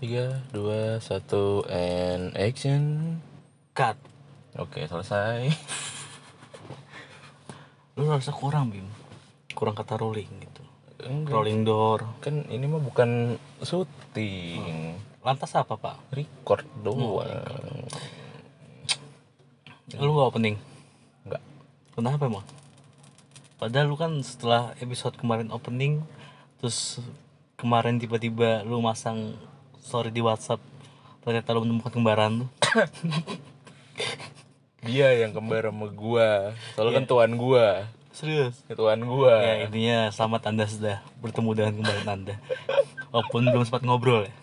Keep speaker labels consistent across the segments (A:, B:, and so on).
A: Tiga, dua, satu, and action.
B: Cut.
A: Oke, selesai.
B: Lu harusnya kurang, Bim. Kurang kata rolling gitu.
A: Enggak.
B: Rolling door.
A: Kan ini mah bukan syuting.
B: Lantas apa, Pak?
A: Record
B: Oh,
A: doang.
B: Lu gak opening?
A: Enggak.
B: Kenapa emang? Padahal lu kan setelah episode kemarin opening Terus kemarin tiba-tiba lu masang story di Whatsapp Ternyata lu menemukan kembaran lu
A: Dia yang kembar sama gua. Soalnya
B: Iya.
A: kan tuan gua.
B: Serius?
A: Ya, Tuan gua.
B: Ya intinya selamat anda sudah bertemu dengan kembaran anda Walaupun belum sempat ngobrol ya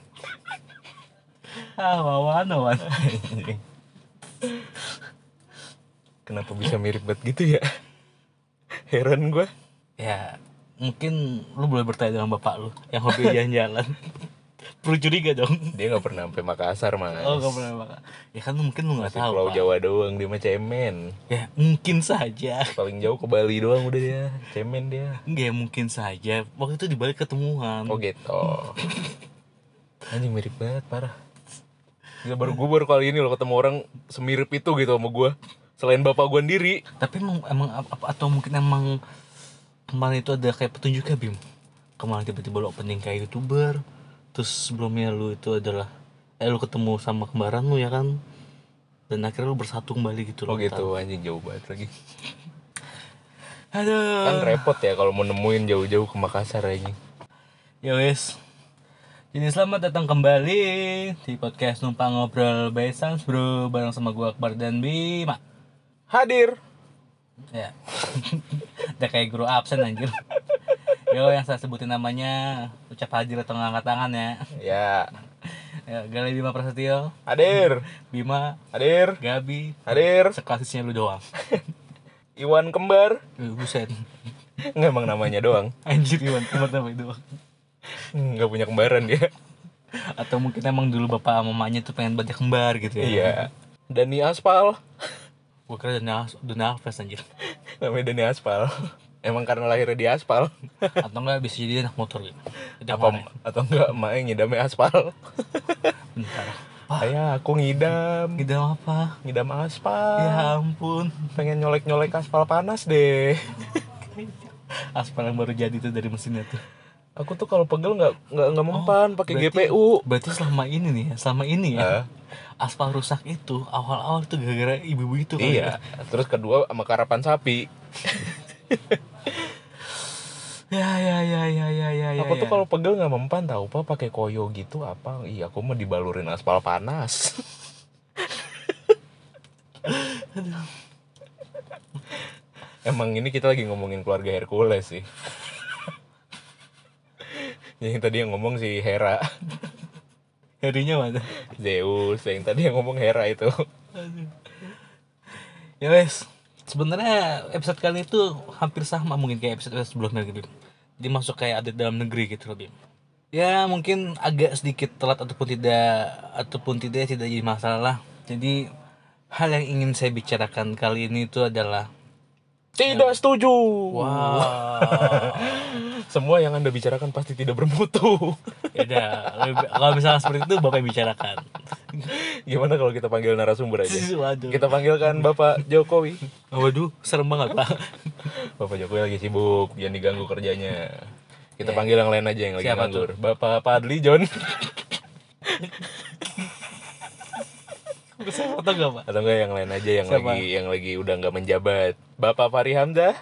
B: Ah, wawan, wawan
A: Kenapa bisa mirip banget gitu ya? Heran gua.
B: Ya, mungkin lu boleh bertanya dengan bapak lu Yang hobi jalan-jalan Perlu curiga dong
A: Dia nggak pernah sampai Makassar, Mas.
B: Oh gak pernah makan. Ya kan mungkin lu gak
A: Masih
B: tahu
A: Pulau
B: Pak.
A: Jawa doang dia mah cemen.
B: Ya mungkin saja
A: Paling jauh ke Bali doang udah dia. Cemen dia.
B: Enggak ya, mungkin saja Waktu itu dibalik ketemuan
A: Oh gitu. Anjing mirip banget parah. Gila baru gue baru kali ini loh ketemu orang semirip itu gitu sama gue. Selain bapak gue sendiri.
B: Tapi emang, emang apa, Atau mungkin emang Kemarin itu ada kayak petunjuknya Bim Kemarin tiba-tiba lu opening kayak youtuber Terus sebelumnya lu itu adalah Eh lu ketemu sama kembaran lu ya kan Dan akhirnya lu bersatu kembali gitu
A: Oh
B: loh
A: gitu anjing jauh banget lagi.
B: Aduh
A: Kan repot ya kalau mau nemuin jauh-jauh ke Makassar anjing.
B: Ya wes Jadi selamat datang kembali Di podcast Numpang Ngobrol by Sans Bro Bareng sama gua Akbar dan Bima
A: Hadir.
B: Ya. Udah kayak guru absen anjir. Yo yang saya sebutin namanya ucap hadir atau ngangkat tangan ya.
A: Ya.
B: ya Gali Bima Prasetyo,
A: Hadir.
B: Bima,
A: Hadir.
B: Gabi,
A: Hadir.
B: sekelasisnya lu doang.
A: Iwan Kembar.
B: Eh, Buset.
A: Nggak emang namanya doang.
B: Anjir Iwan, cuma nama itu.
A: Nggak punya kembaran dia.
B: Atau mungkin emang dulu bapak sama mamanya tuh pengen banyak kembar gitu ya.
A: Iya. Dani Aspal.
B: Gua kira dunia, dunia Alves anjir.
A: Namanya Dani Aspal. Emang karena lahirnya di aspal.
B: Atau enggak bisa jadi anak motor gitu. Itu
A: Apa
B: kemarin.
A: atau enggak main ngidamnya aspal.
B: Bentar.
A: Ayah, aku ngidam,
B: Ngidam Gitu apa?
A: ngidam aspal.
B: Ya ampun.
A: Pengen nyolek-nyolek aspal panas deh.
B: Aspal yang baru jadi tuh dari mesinnya tuh.
A: Aku tuh kalau pegel nggak nggak nggak mempan pakai GPU.
B: Oh, Berarti selama ini nih, ya, selama ini
A: Eh.
B: ya. Aspal rusak itu awal-awal itu gara-gara ibu-ibu itu kan.
A: Iya. Terus kedua sama karapan sapi.
B: Ya ya ya ya ya ya ya.
A: aku tuh
B: ya.
A: kalau pegel nggak mempan tahu pak pakai koyo gitu apa? Iya, aku mau dibalurin aspal panas. Emang ini kita lagi ngomongin keluarga Hercules sih. Yang tadi yang ngomong si Hera.
B: harinya mana?
A: Zeus yang tadi yang ngomong Hera itu
B: Aduh. ya wes. Sebenarnya episode kali itu hampir sama mungkin kayak episode sebelumnya gitu. Bim. Jadi masuk kayak adat dalam negeri gitu loh Bim. Ya mungkin agak sedikit telat ataupun tidak ataupun tidak tidak jadi masalah. Jadi hal yang ingin saya bicarakan kali ini itu adalah
A: tidak setuju
B: Wow.
A: semua yang anda bicarakan pasti tidak bermutu
B: ya udah, lebih- kalau misalnya seperti itu bapak yang bicarakan.
A: gimana kalau kita panggil narasumber aja
B: Waduh.
A: kita panggilkan Bapak Jokowi
B: Waduh, serem banget pak.
A: Bapak Jokowi lagi sibuk jangan diganggu kerjanya kita panggil yang lain aja yang lagi
B: Siapa
A: nganggur Bapak Padli John
B: Bisa foto gak pak?
A: atau enggak yang lain aja yang
B: Siapa?
A: lagi yang lagi udah nggak menjabat Bapak Fahri Hamzah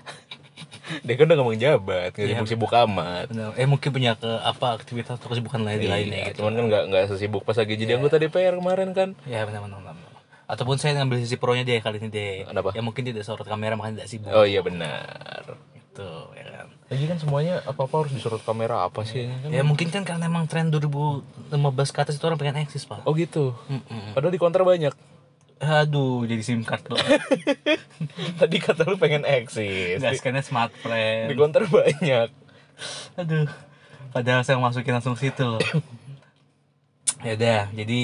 A: dia kan udah nggak menjabat nggak sibuk-sibuk amat
B: Benar. Eh mungkin punya ke apa aktivitas atau kesibukan lain di lainnya
A: Iya,
B: gitu.
A: cuman kan Iya. nggak nggak sesibuk pas lagi jadi anggota DPR kemarin kan
B: Ya benar benar. benar. Ataupun saya ngambil sisi pronya deh kali ini deh.
A: Kenapa?
B: Ya mungkin tidak sorot kamera makanya tidak sibuk.
A: oh iya benar
B: Gitu, ya kan.
A: Lagi kan semuanya apa-apa harus disorot kamera apa sih? ini kan?
B: Ya mungkin kan karena emang tren 2015 ke atas itu orang pengen eksis pak.
A: Oh gitu.
B: Mm-mm.
A: Padahal di konter banyak.
B: Aduh, jadi SIM card tuh.
A: Tadi kata lu pengen eksis. Di,
B: Gaskannya smart friend.
A: di konter banyak.
B: Aduh. Padahal saya masukin langsung situ loh. ya udah, jadi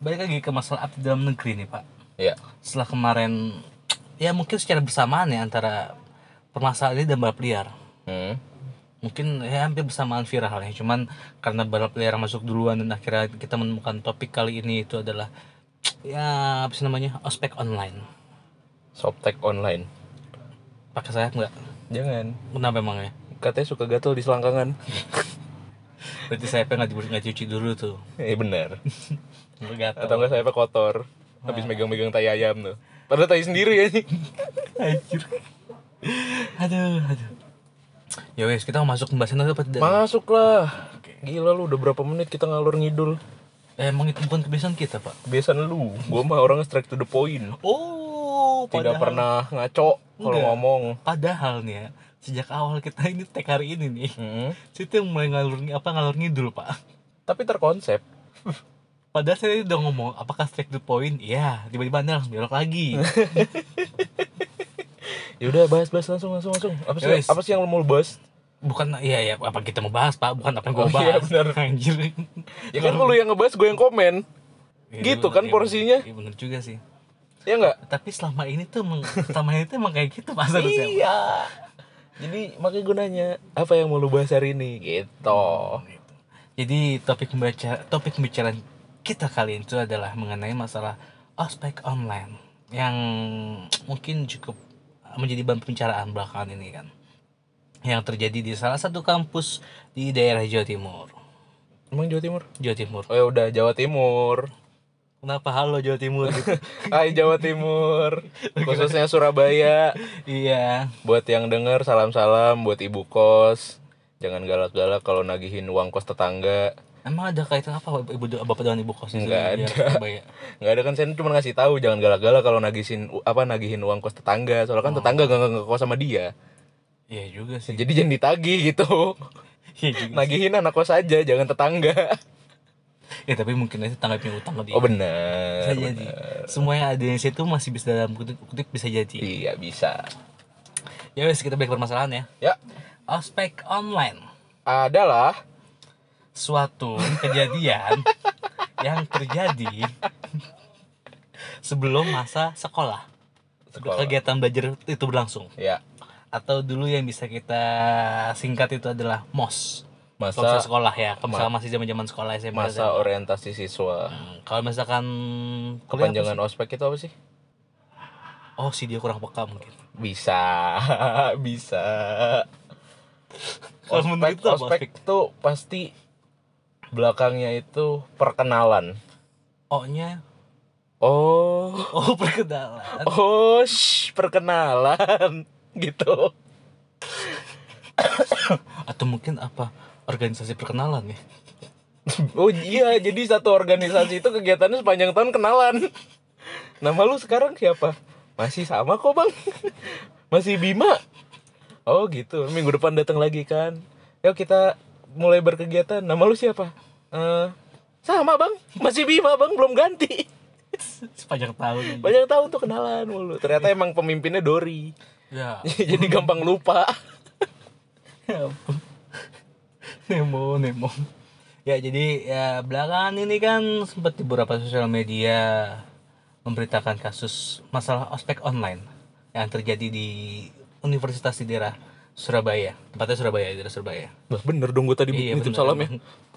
B: balik lagi ke masalah update dalam negeri nih, Pak.
A: Ya.
B: Setelah kemarin ya mungkin secara bersamaan ya antara permasalahan ini dan balap liar.
A: Hmm.
B: mungkin ya, hampir bersamaan viralnya cuman karena balap layar masuk duluan dan akhirnya kita menemukan topik kali ini itu adalah ya apa sih namanya ospek online
A: Softtek online.
B: pakai sayap nggak
A: Jangan.
B: kenapa ya? emangnya
A: Katanya suka gatel di selangkangan.
B: berarti sayapnya nggak dicuci nggak cuci dulu tuh
A: eh benar.
B: Gatel.
A: Atau enggak sayapnya kotor. Habis megang-megang tai ayam tuh. Padahal tai sendiri ya nih.
B: Anjir. aduh, aduh. Ya wes, kita mau masuk pembahasan apa tidak?
A: Masuklah. Gila lu udah berapa menit kita ngalur ngidul.
B: Eh, emang itu bukan kebiasaan kita, Pak.
A: Kebiasaan lu. Gua mah orangnya straight to the point.
B: Oh,
A: Tidak pernah ngaco kalau
B: Enggak.
A: ngomong.
B: Padahal nih ya, sejak awal kita ini tag hari ini nih,
A: Mm-mm.
B: situ yang mulai ngalur apa ngalur ngidul, Pak.
A: Tapi terkonsep.
B: Padahal saya udah ngomong, apakah straight to the point? Iya, tiba-tiba Anda langsung belok lagi.
A: Ya udah bahas-bahas langsung langsung langsung. Apa sih
B: Yowes.
A: apa sih yang lu mau bahas?
B: Bukan, iya, ya, apa kita mau bahas, Pak? Bukan apa yang gue
A: Oh,
B: bahas.
A: iya, benar.
B: Anjir.
A: Ya kan lu yang ngebahas, gue yang komen.
B: Iya,
A: Gitu
B: benar,
A: kan
B: iya,
A: porsinya.
B: Iya, bener juga sih.
A: Ya enggak?
B: Tapi selama ini tuh, emang- selama ini tuh emang kayak gitu, Pak. Seharusnya.
A: Iya. Jadi makanya gue nanya, apa yang mau lu bahas hari ini? Gitu.
B: gitu. Jadi topik pembaca topik pembicaraan kita kali ini itu adalah mengenai masalah ospek online yang mungkin cukup menjadi bahan pembicaraan belakangan ini kan yang terjadi di salah satu kampus di daerah Jawa Timur.
A: Emang Jawa Timur?
B: Jawa Timur.
A: Oh ya udah Jawa Timur.
B: Kenapa halo Jawa Timur gitu?
A: Hai Jawa Timur. Khususnya Surabaya.
B: iya.
A: Buat yang denger salam-salam buat ibu kos. Jangan galak-galak kalau nagihin uang kos tetangga.
B: Emang ada kaitan apa ibu bapak dengan ibu kos di
A: Nggak
B: daerah
A: ada.
B: Surabaya?
A: nggak ada kan saya cuma ngasih tahu jangan galak-galak kalau nagihin apa nagihin uang kos tetangga. Soalnya kan tetangga gak, gak, kos sama dia.
B: Iya juga sih.
A: Jadi jangan ditagih gitu.
B: Iya juga.
A: Nagihin anak kos aja, jangan tetangga.
B: Ya tapi mungkin aja tanggapin utang ke dia.
A: Oh bener.
B: bisa jadi semua yang ada di situ masih bisa dalam kutip, kutip bisa jadi
A: Iya bisa.
B: ya wes kita balik permasalahan ya
A: Ya,
B: ospek online
A: adalah
B: suatu kejadian yang terjadi sebelum masa sekolah.
A: Sekolah.
B: kegiatan belajar itu berlangsung
A: ya
B: atau dulu yang bisa kita singkat itu adalah mos kalau
A: masa
B: misalnya sekolah ya kalau misalnya masih zaman zaman sekolah SMA
A: masa orientasi siswa.
B: Hmm, kalau misalkan kuliah apa
A: Kepanjangan ospek itu apa sih?
B: sih? oh si dia kurang peka mungkin
A: Bisa, bisa.
B: Kalau menurut
A: Ospek,
B: lu apa
A: ospek tuh pasti belakangnya itu perkenalan.
B: oh nya
A: Oh,
B: oh perkenalan
A: oh, shh, perkenalan gitu.
B: atau mungkin apa organisasi perkenalan ya
A: Oh iya, jadi satu organisasi itu kegiatannya sepanjang tahun kenalan. Nama lu sekarang siapa? Masih sama kok bang. Masih Bima. Oh gitu. Minggu depan datang lagi kan. Yuk kita mulai berkegiatan. Nama lu siapa? Eh, sama bang. Masih Bima bang. Belum ganti.
B: sepanjang tahun aja.
A: Banyak tahun tuh kenalan mulu. Ternyata emang pemimpinnya Dori.
B: ya
A: jadi gampang lupa.
B: ya ampun. nemo nemo ya jadi ya belakangan ini kan sempat di beberapa sosial media memberitakan kasus masalah ospek online yang terjadi di universitas di daerah Surabaya tempatnya Surabaya daerah Surabaya
A: Lah, Nah, bener dong gue tadi
B: Iya,
A: nitip
B: bener.
A: salam ya.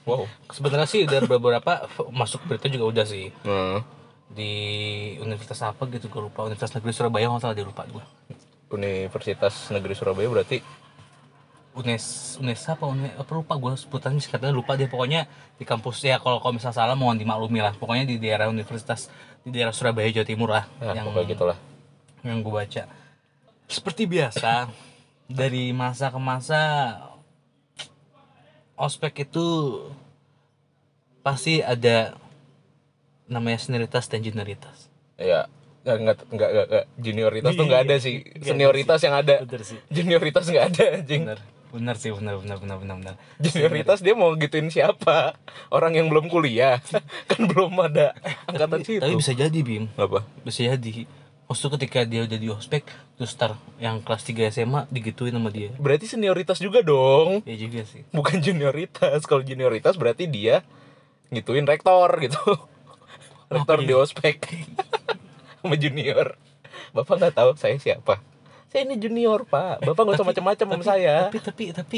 A: Wow.
B: sebenarnya sih udah beberapa masuk berita juga udah sih
A: Nah,
B: di universitas apa gitu gue lupa universitas negeri Surabaya nggak salah dia lupa gue
A: Universitas Negeri Surabaya berarti
B: Unes Unes apa Unes apa lupa gue sebutannya katanya lupa dia pokoknya di kampus ya kalau kalau misalnya salah mohon dimaklumi lah pokoknya di daerah universitas di daerah Surabaya Jawa Timur lah
A: nah,
B: yang
A: pokoknya gitulah.
B: yang gue baca seperti biasa dari masa ke masa ospek itu pasti ada namanya senioritas dan junioritas
A: Iya. Nggak, nggak, nggak, nggak, nggak. Junioritas tuh
B: Iya,
A: nggak ada sih.
B: Nggak ada
A: Senioritas yang ada.
B: bener iya, sih
A: Junioritas nggak ada anjing.
B: bener bener sih bener bener bener bener, bener.
A: Junioritas dia mau gituin siapa? Orang yang belum kuliah. kan belum ada angkatan
B: tapi, tapi
A: situ.
B: bisa jadi Bim
A: Apa?
B: bisa jadi Maksudnya ketika dia udah di ospek terus star yang kelas 3 SMA digituin sama dia
A: Berarti senioritas juga dong.
B: ya juga sih
A: Bukan junioritas. Kalau junioritas berarti dia ngituin rektor gitu. rektor di ospek sama junior. Bapak nggak tahu saya siapa. Saya ini junior pak. Bapak nggak usah macam-macam sama saya.
B: tapi tapi tapi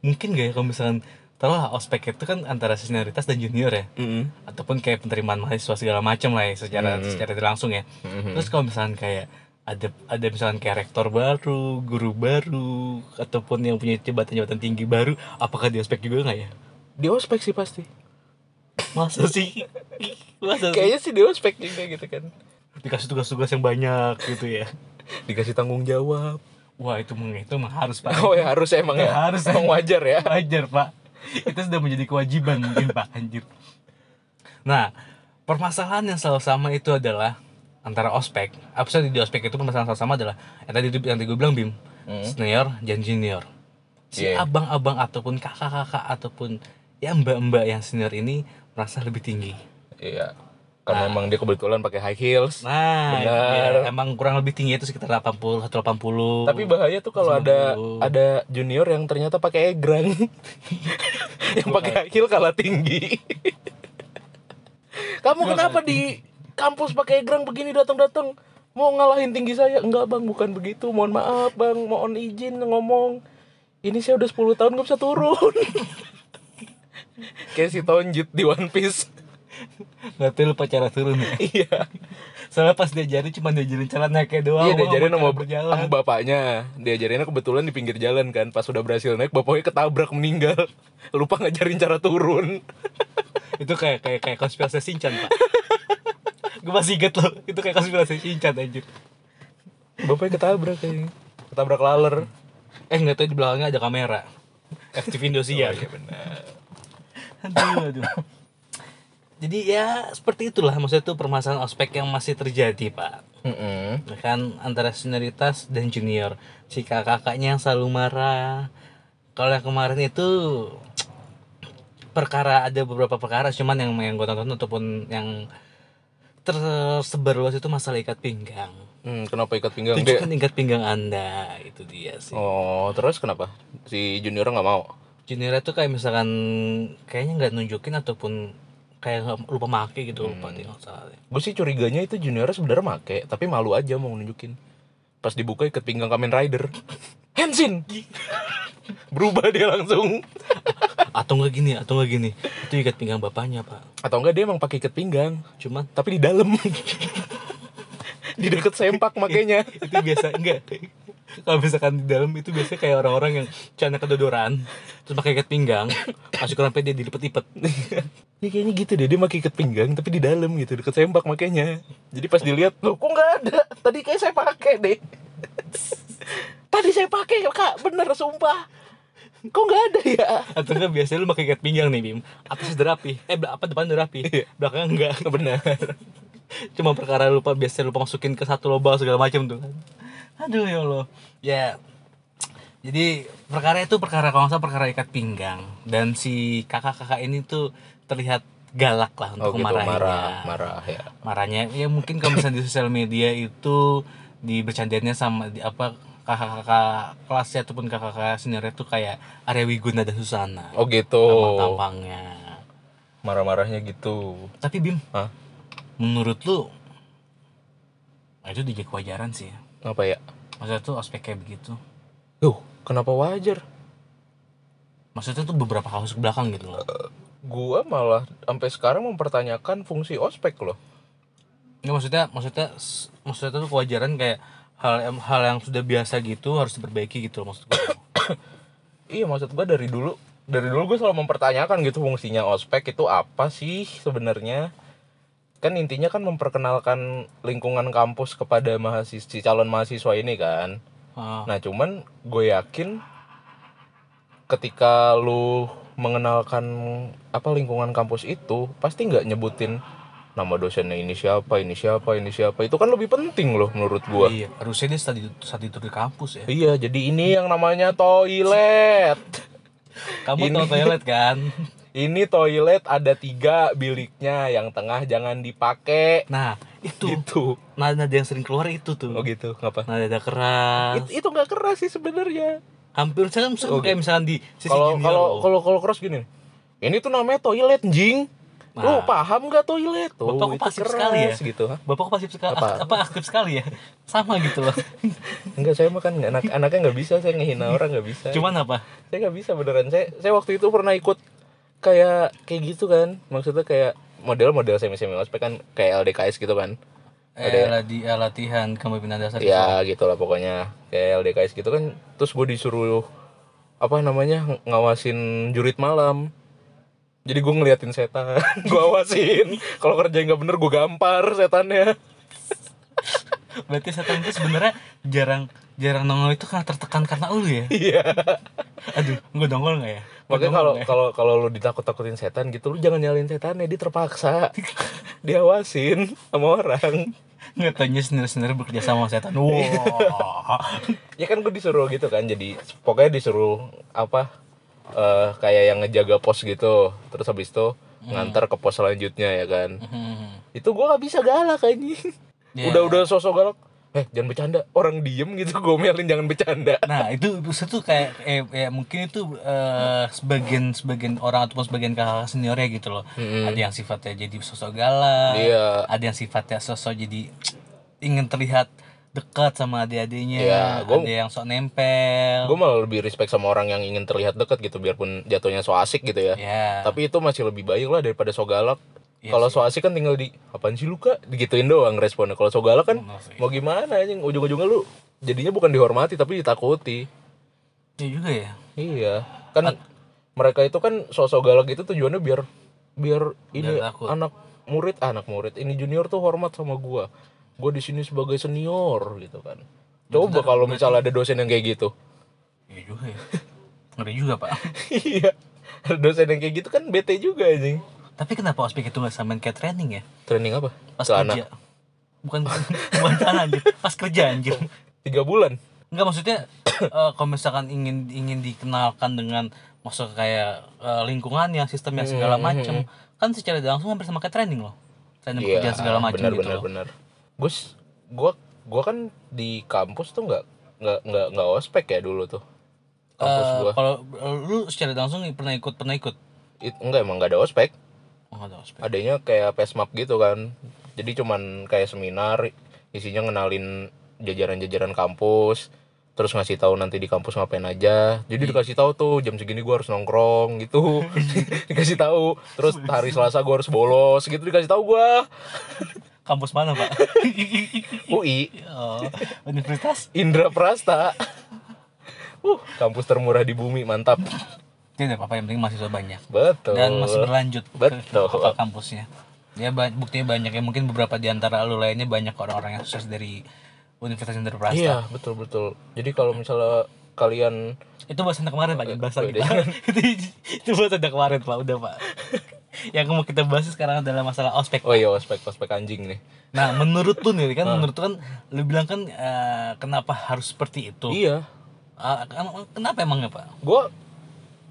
B: mungkin gak ya kalau misalkan taruhlah ospek itu kan antara senioritas dan junior ya
A: Mm-mm.
B: ataupun kayak penerimaan mahasiswa segala macam lah ya secara
A: Hmm.
B: secara tidak langsung ya
A: Mhm.
B: terus kalau misalkan kayak ada ada misalkan kayak rektor baru guru baru ataupun yang punya jabatan-jabatan tinggi baru apakah di ospek juga nggak ya
A: Di ospek sih pasti.
B: masa sih masa sih
A: Kayaknya sih di ospek juga gitu kan.
B: dikasih tugas-tugas yang banyak gitu ya
A: Dikasih tanggung jawab.
B: wah itu meng itu mah harus pak
A: Oh ya harus emang ya.
B: Ya, harus.
A: emang wajar ya.
B: wajar pak itu sudah menjadi kewajiban mungkin pak anjir nah permasalahan yang selalu sama itu adalah antara ospek apa sih di ospek itu permasalahan selalu sama adalah yang tadi yang tadi gue bilang bim
A: Hmm.
B: senior dan junior si
A: Iya.
B: abang-abang ataupun kakak-kakak ataupun ya mbak-mbak yang senior ini merasa lebih tinggi
A: Iya. Karena emang dia kebetulan pakai high heels.
B: nah itu
A: Benar.
B: dia. emang kurang lebih tinggi itu sekitar 80 180
A: Tapi bahaya tuh kalau ada
B: Aduh.
A: ada junior yang ternyata pakai egrang. yang pakai akil kalah tinggi. Kamu kenapa di kampus pakai egrang begini datang-datang? Mau ngalahin tinggi saya? Enggak, Bang, bukan begitu. Mohon maaf, Bang. Mohon izin ngomong. Ini saya udah 10 tahun gak bisa turun. Kayak si Tonjit di One Piece.
B: berarti lupa cara turun ya
A: iya.
B: soalnya pas diajarin cuma diajarin cara naiknya doang
A: Iya diajarin
B: cara
A: sama,
B: berjalan
A: sama bapaknya Diajarinnya kebetulan di pinggir jalan kan Pas udah berhasil naik bapaknya ketabrak meninggal Lupa ngajarin cara turun
B: itu kayak kayak kayak konspirasi Shinchan pak gue masih inget loh itu kayak konspirasi Shinchan anjir
A: Bapaknya ketabrak kayaknya Ketabrak laler
B: eh nggak tahu di belakangnya ada kamera iya. FTV Indosiar Oh, aduh aduh jadi ya seperti itulah maksudnya itu permasalahan ospek yang masih terjadi pak
A: Mm-mm.
B: Ya kan antara senioritas dan junior si kakak-kakaknya yang selalu marah kalau yang kemarin itu perkara ada beberapa perkara cuman yang yang gue tonton ataupun yang tersebar luas itu masalah ikat pinggang
A: Hmm, Kenapa ikat pinggang dia?
B: tunjukkan ikat pinggang anda itu dia sih
A: Oh terus kenapa? Si junior nggak mau
B: junior itu kayak misalkan kayaknya nggak nunjukin ataupun kayak nggak- lupa make gitu lupa deh, nggak salah deh.
A: Gue sih curiganya itu junior sebenarnya make Tapi malu aja mau nunjukin Pas dibuka ikat pinggang Kamen Rider Henshin Berubah dia langsung
B: atau nggak gini atau nggak gini itu ikat pinggang bapaknya pak
A: Atau enggak dia emang pakai ikat pinggang
B: cuman
A: tapi di dalam di deket sempak makanya
B: itu biasa enggak kalau misalkan di dalam itu biasanya kayak orang-orang yang celana kedodoran terus pakai ikat pinggang masuk ke dompet dia dilipet-lipet
A: ya kayaknya gitu deh dia pakai ikat pinggang tapi di dalam gitu deket sempak makanya jadi pas dilihat loh kok nggak ada tadi kayak saya pakai deh tadi saya pakai kak bener sumpah kok nggak ada ya
B: atau enggak biasanya lu pakai ikat pinggang nih bim atas udah rapi eh bel- apa depan udah rapi
A: Iya.
B: belakang enggak
A: bener
B: cuma perkara lupa biasanya lupa masukin ke satu lubang segala macam tuh kan aduh ya allah ya jadi perkara itu perkara kalau nggak salah perkara ikat pinggang dan si kakak-kakak ini tuh terlihat galak lah
A: oh
B: untuk
A: gitu
B: memarahinya
A: marah marah ya
B: marahnya ya mungkin kalau misalnya di sosial media itu di bercandanya sama di apa kakak-kakak kelasnya ataupun kakak-kakak seniornya itu kayak Arya Wiguna dan Susana
A: oh gitu
B: sama tampangnya
A: marah-marahnya gitu
B: tapi Bim
A: Hah?
B: menurut lu nah, itu jadi kewajaran sih ya
A: apa ya
B: maksudnya tuh ospek kayak begitu
A: tuh kenapa wajar
B: maksudnya tuh beberapa kasus ke belakang gitu loh
A: gua malah sampai sekarang mempertanyakan fungsi ospek loh
B: Nggak, maksudnya maksudnya s- maksudnya tuh kewajaran kayak hal hal yang sudah biasa gitu harus diperbaiki gitu loh maksud gue
A: Iya maksud gua dari dulu dari dulu gue selalu mempertanyakan gitu fungsinya ospek itu apa sih sebenarnya kan intinya kan memperkenalkan lingkungan kampus kepada mahasiswa calon mahasiswa ini kan
B: Ah,
A: nah cuman gue yakin ketika lu mengenalkan apa lingkungan kampus itu pasti nggak nyebutin nama dosennya ini siapa ini siapa ini siapa itu kan lebih penting loh menurut gua
B: iya harusnya dia saat itu saat itu di kampus ya
A: iya jadi ini yang namanya toilet
B: Kamu
A: Ini-
B: tau toilet kan?
A: Ini toilet ada tiga biliknya, yang tengah jangan dipakai.
B: Nah, itu.
A: Gitu.
B: Nada yang sering keluar itu tuh.
A: Oh gitu, kenapa?
B: Nada nada keras.
A: It- itu nggak keras sih sebenarnya.
B: Hampir saya
A: Oh,
B: misalkan kayak misalkan di sisi
A: Kalau
B: junior
A: kalau
B: loh.
A: kalau kalau keras gini. Ini tuh namanya toilet, jing. Lu paham gak toilet? Tuh,
B: Nah. Bapak kok
A: itu
B: pasif
A: keras,
B: sekali ya?
A: Gitu. Hah?
B: Bapak kok pasif sekali,
A: Apa?
B: ak- apa aktif sekali ya? Sama gitu loh.
A: Enggak, saya makan nggak anak anaknya nggak bisa, saya ngehina orang nggak bisa.
B: Cuman apa?
A: saya nggak bisa beneran. Saya saya waktu itu pernah ikut kayak kayak gitu kan. Maksudnya kayak model-model semi-semi ospek kan kayak LDKS gitu kan.
B: Eh, ladi- eh, latihan kepemimpinan dasar.
A: ya gitu lah pokoknya kayak LDKS gitu kan terus gue disuruh apa namanya ng- ngawasin jurit malam jadi gue ngeliatin setan gue awasin kalau kerja nggak bener gue gampar setannya
B: Berarti setan itu sebenarnya jarang jarang nongol itu karena tertekan karena lu ya.
A: iya
B: Aduh, gue dongol nggak ya? Gua
A: makanya
B: dongol
A: kalau
B: nggak ya?
A: kalau kalau lu ditakut takutin setan gitu lu jangan nyalin setannya dia terpaksa diawasin sama orang
B: nggak tanya sendiri-sendiri bekerja sama setan. Wah.
A: ya kan gue disuruh gitu kan jadi pokoknya disuruh apa eh kayak yang ngejaga pos gitu terus habis itu ngantar ke pos selanjutnya ya kan
B: Hmm.
A: itu gue nggak bisa galak anjing
B: Ya.
A: udah udah sosok galak eh jangan bercanda orang diem gitu gue melin jangan bercanda
B: Nah itu itu tuh kayak eh, eh, mungkin itu eh, sebagian sebagian orang ataupun sebagian kakak seniornya gitu loh. Ada yang sifatnya jadi sosok galak,
A: Iya.
B: ada yang sifatnya sosok jadi ingin terlihat dekat sama adik-adiknya,
A: Iya, gua-
B: ada yang sok nempel.
A: gue malah lebih respect sama orang yang ingin terlihat dekat gitu biarpun jatuhnya so asik gitu ya
B: ya.
A: tapi itu masih lebih baik lah daripada so galak
B: Iya
A: kalau so asik kan tinggal di apaan sih lu kak digituin doang responnya kalau so galak kan
B: Bener Oh, sih.
A: mau gimana anjing ujung-ujungnya lu jadinya bukan dihormati tapi ditakuti
B: Iya juga ya.
A: Iya, kan mereka itu kan sosok galak itu tujuannya biar biar ini
B: takut.
A: anak murid ah, anak murid ini junior tuh hormat sama gua. Gua di sini sebagai senior gitu kan. Coba kalau misalnya ada dosen yang kayak gitu.
B: Iya juga ya. Ngeri juga pak.
A: Iya. Ada dosen yang kayak gitu kan bete juga anjing.
B: tapi kenapa ospek itu nggak samain kayak training ya?
A: Training apa?
B: Pas
A: Celana.
B: kerja. Bukan bukan celana anjir. Pas kerja anjir.
A: Tiga bulan.
B: Enggak maksudnya eh, kalau misalkan ingin ingin dikenalkan dengan masuk kayak eh, lingkungannya, sistemnya
A: Hmm,
B: segala macem kan secara tidak langsung hampir sama kayak training loh. Training pekerjaan segala macam
A: Iya, ah, benar
B: gitu
A: benar
B: loh.
A: benar. Gus, gua gua kan di kampus tuh nggak nggak nggak nggak ospek ya dulu tuh. Kampus
B: Eh,
A: gua.
B: kalau eh, lu secara tidak langsung pernah ikut pernah ikut
A: It, enggak emang nggak ada ospek.
B: Oh, nggak ada ospek.
A: adanya kayak pesmap gitu kan jadi cuman kayak seminar isinya ngenalin jajaran-jajaran kampus terus ngasih tahu nanti di kampus ngapain aja
B: Iya.
A: jadi dikasih tahu tuh jam segini gua harus nongkrong gitu dikasih tahu terus hari selasa gua harus bolos gitu dikasih tahu gua
B: Kampus mana, Pak?
A: UI
B: oh, universitas.
A: Indra Prasta uh kampus termurah di bumi mantap
B: Tidak Ya, apa-apa yang penting mahasiswa banyak.
A: betul
B: dan masih berlanjut ke-
A: Betul.
B: ke kampusnya ya ba- buktinya banyak ya mungkin beberapa di antara lu lainnya banyak orang-orang yang sukses dari Universitas Indonesia
A: iya betul betul jadi kalau misalnya kalian
B: itu bahasan kemarin pak jangan bahas lagi
A: Udah,
B: pak itu, itu bahasan kemarin pak udah pak yang mau kita bahas sekarang adalah masalah ospek
A: oh iya ospek ospek anjing nih
B: nah menurut lu nih
A: Hmm.
B: kan menurut lu kan lu bilang kan eh, kenapa harus seperti itu
A: iya
B: Ah, kan- kenapa emangnya pak
A: gue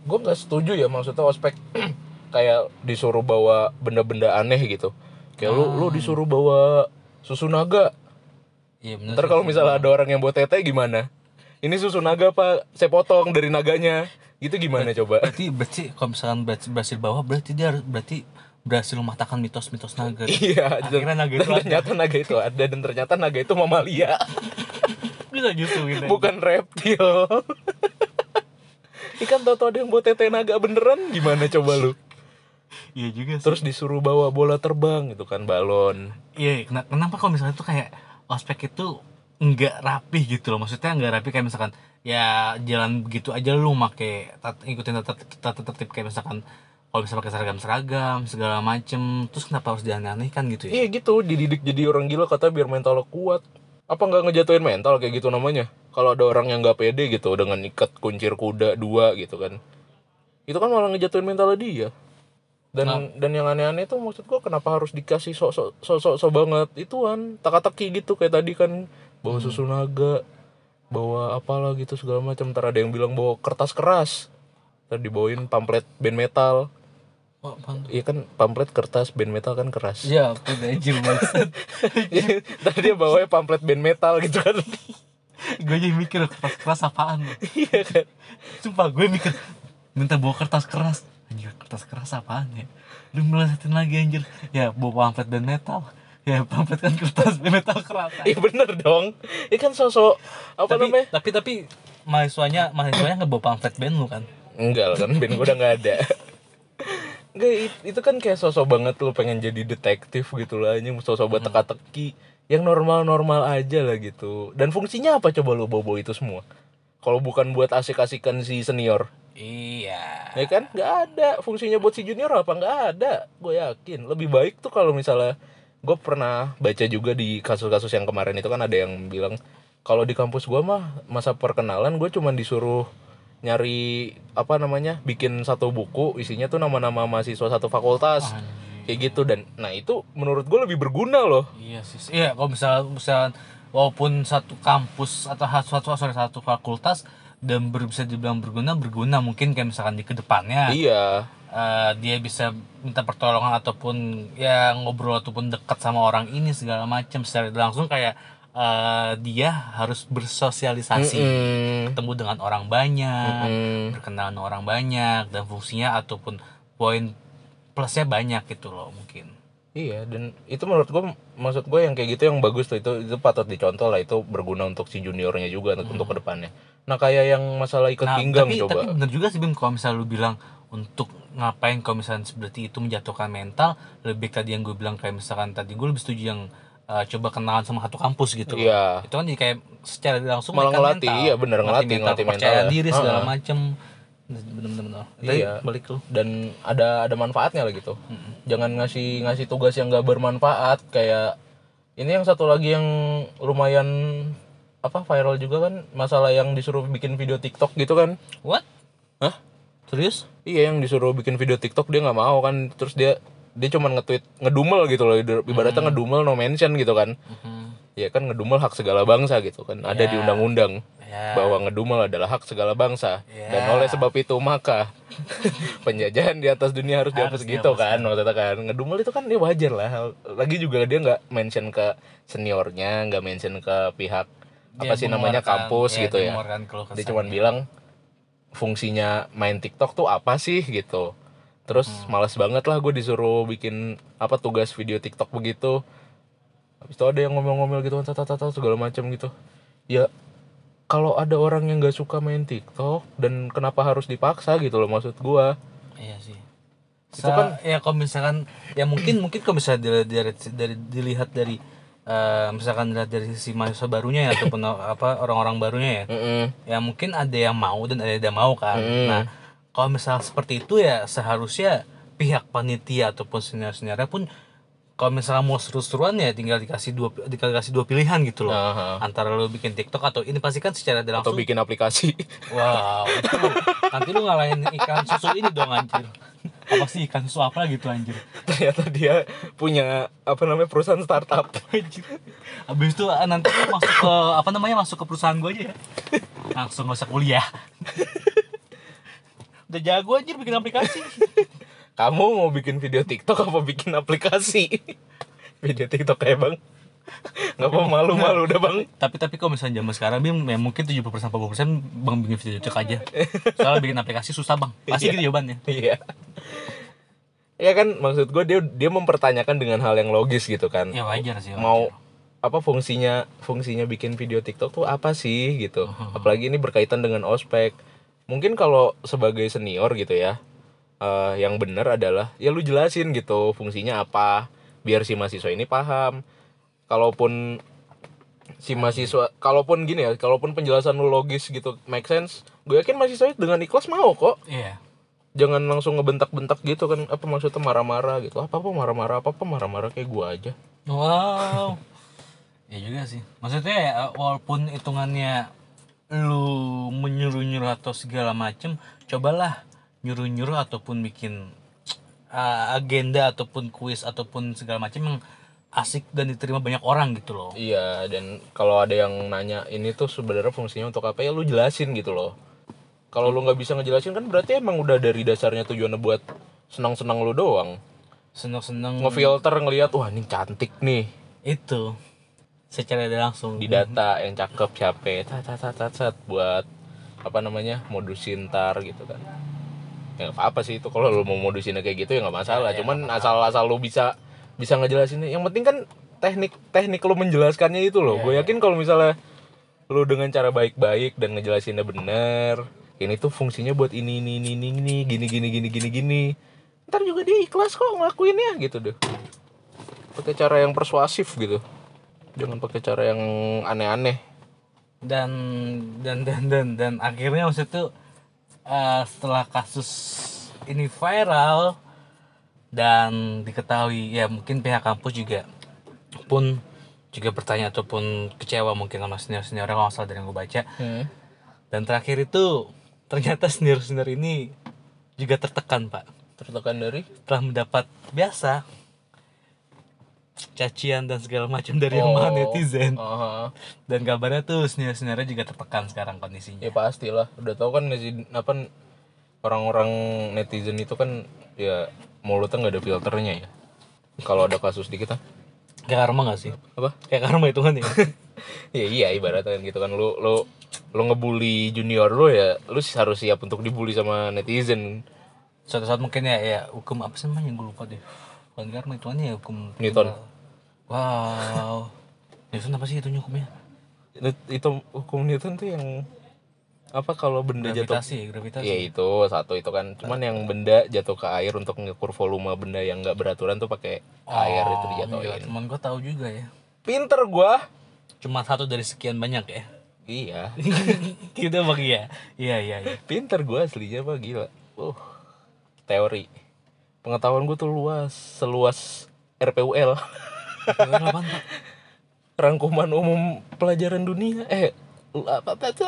A: gue nggak setuju ya maksudnya ospek kayak disuruh bawa benda-benda aneh gitu kayak lu
B: Hmm.
A: lu disuruh bawa susu naga
B: Iya bener
A: ntar
B: sih.
A: kalau misalnya ada orang yang bawa tete gimana ini susu naga pak saya potong dari naganya gitu gimana coba
B: berarti berarti kalau misalkan berhasil, berhasil bawa berarti dia harus berarti berhasil mematahkan mitos-mitos naga
A: iya
B: akhirnya
A: dan
B: naga itu ada.
A: ternyata naga itu ada dan ternyata naga itu mamalia
B: bisa justru gitu
A: bukan reptil ikan tau ada yang bawa tete naga beneran gimana coba lu
B: iya juga sih
A: terus disuruh bawa bola terbang gitu kan balon
B: iya kena- kenapa kalau misalnya tuh kayak ospek itu nggak rapi gitu loh maksudnya nggak rapi kayak misalkan ya jalan begitu aja lu make tat- ikutin tata tata tertib kayak misalkan kalau bisa pakai seragam seragam segala macem terus kenapa harus dianeh-anehkan gitu ya
A: Iya gitu, dididik jadi orang gila kata biar mental lo kuat. Apa nggak ngejatuhin mental kayak gitu namanya? Kalau ada orang yang nggak pede gitu dengan ikat kuncir kuda dua gitu kan. Itu kan malah ngejatuhin mental dia. Dan dan yang aneh-aneh tuh maksud gua kenapa harus dikasih sok sok sok sok, sok banget ituan, teka-teki gitu kayak tadi kan bawa susu naga, bawa apalah gitu segala macam. Ntar ada yang bilang bawa kertas keras. Ntar dibawain pamflet band metal.
B: oh, bang.
A: Iya kan pamflet kertas band metal kan keras.
B: ya aku udah anjir
A: Jadi, Tadi Iya, dia bawanya pamflet band metal gitu kan.
B: gue jadi mikir kertas keras apaan
A: Iya kan.
B: Sumpah gue mikir minta bawa kertas keras anjir kertas keras apaan ya lu melesetin lagi anjir ya bawa pamflet dan metal ya pamflet kan kertas dan metal keras
A: Iya bener dong. Ini kan sosok apa
B: tapi,
A: namanya?
B: tapi tapi mahasiswanya mahasiswanya nggak bawa pamflet band lu kan
A: Enggak lah kan band gue udah nggak ada. Enggak it- itu kan kayak sosok banget lu pengen jadi detektif gitu lah anjing sosok buat teka-teki yang normal-normal aja lah gitu. Dan fungsinya apa coba lu bobo itu semua? Kalau bukan buat asik-asikan si senior,
B: iya
A: ya kan? Nggak ada. Fungsinya buat si junior apa? Nggak ada. Gue yakin. Lebih baik tuh kalau misalnya gue pernah baca juga di kasus-kasus yang kemarin itu kan ada yang bilang kalau di kampus gue mah masa perkenalan gue cuman disuruh nyari apa namanya bikin satu buku isinya tuh nama-nama mahasiswa satu fakultas kayak gitu dan nah itu menurut gue lebih berguna loh
B: iya sih iya kalau misal misal walaupun satu kampus atau ha- suatu sorry, satu fakultas dan ber, bisa dibilang berguna berguna mungkin kayak misalkan di kedepannya
A: iya
B: eh, dia bisa minta pertolongan ataupun ya ngobrol ataupun dekat sama orang ini segala macam secara tidak langsung kayak eh, dia harus bersosialisasi
A: Mm-mm.
B: ketemu dengan orang banyak
A: Mm.
B: berkenalan dengan orang banyak dan fungsinya ataupun poin plusnya banyak gitu loh mungkin
A: Iya dan itu menurut gue maksud gue yang kayak gitu yang bagus tuh itu itu patut dicontoh lah itu berguna untuk si juniornya juga untuk untuk kedepannya. Nah kayak yang masalah ikat
B: Hmm. nah
A: pinggang
B: tapi
A: coba.
B: tapi bener juga sih Bim kalau misalnya lu bilang untuk ngapain kalau misalnya seperti itu menjatuhkan mental lebih baik tadi yang gue bilang kayak misalkan tadi gue lebih setuju yang eh, coba kenalan sama satu kampus gitu loh.
A: Iya.
B: itu kan jadi kayak secara tidak langsung
A: Malah
B: menekan
A: ngelatih, iya bener, ngelatih, ngelatih
B: kepercayaan
A: mental ya.
B: diri segala
A: Heeh.
B: macem bener-bener
A: Iya.
B: balik lu
A: Dan ada ada manfaatnya lah gitu.
B: Hmm.
A: Jangan ngasih ngasih tugas yang gak bermanfaat kayak ini yang satu lagi yang lumayan apa viral juga kan masalah yang disuruh bikin video TikTok gitu kan.
B: what
A: Hah?
B: serius
A: Iya yang disuruh bikin video TikTok dia nggak mau kan terus dia dia cuman nge-tweet ngedumel gitu loh ibaratnya
B: Hmm.
A: ngedumel no mention gitu kan.
B: Mhm.
A: ya kan ngedumel hak segala bangsa gitu kan ada di undang-undang
B: Ya.
A: bahwa ngedumel adalah hak segala bangsa
B: Ya.
A: dan oleh sebab itu maka penjajahan di atas dunia harus dihapus
B: Harus ya.
A: gitu kan maksudnya kan ngedumel itu kan ya wajar lah lagi juga dia nggak mention ke seniornya nggak mention ke pihak
B: Dia
A: apa sih namanya
B: mengeluarkan-
A: kampus gitu
B: dia
A: ya
B: mengeluarkan keluh
A: dia
B: kesah.
A: cuman bilang fungsinya main TikTok tuh apa sih gitu terus malas banget lah gue disuruh bikin apa tugas video TikTok begitu habis itu ada yang ngomel-ngomel gitu kan tata tata segala macam gitu ya kalau ada orang yang nggak suka main TikTok dan kenapa harus dipaksa gitu loh maksud gue
B: Iya sih.
A: Itu
B: Itu
A: kan-
B: kan ya kalau misalkan ya mungkin mungkin kalau misalnya dari, dari, dari- dilihat dari eh, misalkan dilihat dari sisi mahasiswa barunya ya ataupun apa orang-orang barunya ya. Ya mungkin ada yang mau dan ada yang tidak mau kan. Nah, kalau misal seperti itu ya seharusnya pihak panitia ataupun senior-seniornya pun kalau misalnya mau seru-seruan ya tinggal dikasih dua tinggal dikasih dua pilihan gitu loh.
A: Aha.
B: Antara lo bikin TikTok atau ini pastikan secara tidak
A: atau
B: langsung
A: bikin aplikasi
B: Wow, itu nanti lu ngalahin ikan susu ini dong anjir. Apa sih ikan susu apa gitu anjir.
A: ternyata dia punya apa namanya perusahaan startup
B: Anjir. Abis itu ah, nanti lu masuk ke apa namanya masuk ke perusahaan gua aja ya. Langsung gak usah kuliah. Udah jago anjir bikin aplikasi.
A: kamu mau bikin video TikTok apa bikin aplikasi? video TikTok kayak bang, nggak apa malu-malu udah bang.
B: tapi tapi kalau misalnya zaman sekarang Bim, ya mungkin 70% 80% Bang bikin video cek aja. Soalnya bikin aplikasi susah Bang. Pasti gitu jawabannya.
A: Iya. Ya kan maksud gue dia dia mempertanyakan dengan hal yang logis gitu kan.
B: Ya wajar sih. wajar.
A: mau apa fungsinya fungsinya bikin video TikTok tuh apa sih gitu. Apalagi ini berkaitan dengan ospek. Mungkin kalau sebagai senior gitu ya, eh, yang benar adalah ya lu jelasin gitu fungsinya apa biar si mahasiswa ini paham. Kalaupun si mahasiswa kalaupun gini ya, kalaupun penjelasan lu logis gitu make sense, gue yakin mahasiswa dengan ikhlas mau kok
B: Iya.
A: jangan langsung ngebentak-bentak gitu kan apa maksudnya marah-marah gitu apa apa marah-marah apa apa marah-marah kayak gua aja
B: Wow. ya juga sih. Maksudnya ya, walaupun hitungannya lu menyuruh-nyuruh atau segala macem, cobalah nyuruh-nyuruh ataupun bikin eh, agenda ataupun kuis ataupun segala macem yang asik dan diterima banyak orang gitu loh.
A: iya dan kalau ada yang nanya ini tuh sebenarnya fungsinya untuk apa ya lu jelasin gitu loh kalau lu nggak bisa ngejelasin kan berarti emang udah dari dasarnya tujuannya buat senang-senang lu doang
B: Seneng-seneng
A: ngefilter ngelihat wah ini cantik nih
B: itu secara tidak langsung.
A: di data yang cakep capek tat tat tat tat, tat, buat apa namanya modusin tar gitu kan ya nggak apa-apa sih itu kalau lo mau modusinnya kayak gitu ya nggak masalah cuman asal-asal lo bisa bisa ngejelasin yang penting kan teknik teknik lo menjelaskannya itu loh gue yakin kalau misalnya lo dengan cara baik-baik dan ngejelasinnya bener ini tuh fungsinya buat ini ini ini ini, ini gini gini gini gini gini ntar juga dia ikhlas kok ngelakuinnya gitu deh pakai cara yang persuasif gitu jangan pakai cara yang aneh-aneh
B: dan dan dan dan dan akhirnya maksud tuh eh, setelah kasus ini viral dan diketahui ya mungkin pihak kampus juga pun juga bertanya ataupun kecewa mungkin sama senior senior kalau nggak salah dari yang gue baca dan terakhir itu ternyata senior senior ini juga tertekan pak
A: tertekan dari
B: telah mendapat biasa cacian dan segala macam dari yang
A: Oh,
B: maha netizen
A: aha.
B: dan kabarnya tuh senior seniornya juga tertekan sekarang kondisinya
A: ya pastilah udah tau kan netizen- apa orang-orang netizen itu kan ya mulutnya nggak ada filternya ya kalau ada kasus dikit ah.
B: kayak karma gak sih
A: apa
B: kayak karma itu kan ya
A: ya iya ibaratnya kan gitu kan lu lu lu ngebully junior lu ya lu sih harus siap untuk dibully sama netizen
B: suatu saat mungkin ya ya hukum apa sih namanya gue lupa deh bukan karma itu kan ya hukum
A: Newton.
B: wow Newton apa sih itu hukumnya
A: Net- itu hukum Newton tuh yang apa kalau benda jatuh
B: gravitasi ya, gravitasi
A: ya itu satu itu kan cuman yang
B: Nah.
A: benda jatuh ke air untuk ngukur volume benda yang nggak beraturan tuh pakai air itu
B: Oh, iya,
A: dijatuhin
B: cuman gue tahu juga ya
A: pinter gua
B: cuma satu dari sekian banyak ya
A: iya
B: kita bagi ya iya iya iya
A: pinter gua aslinya apa gila uh teori pengetahuan gua tuh luas seluas RPUL
B: Gimana, apaan, Pak?
A: rangkuman umum pelajaran dunia eh lu apa apa tuh?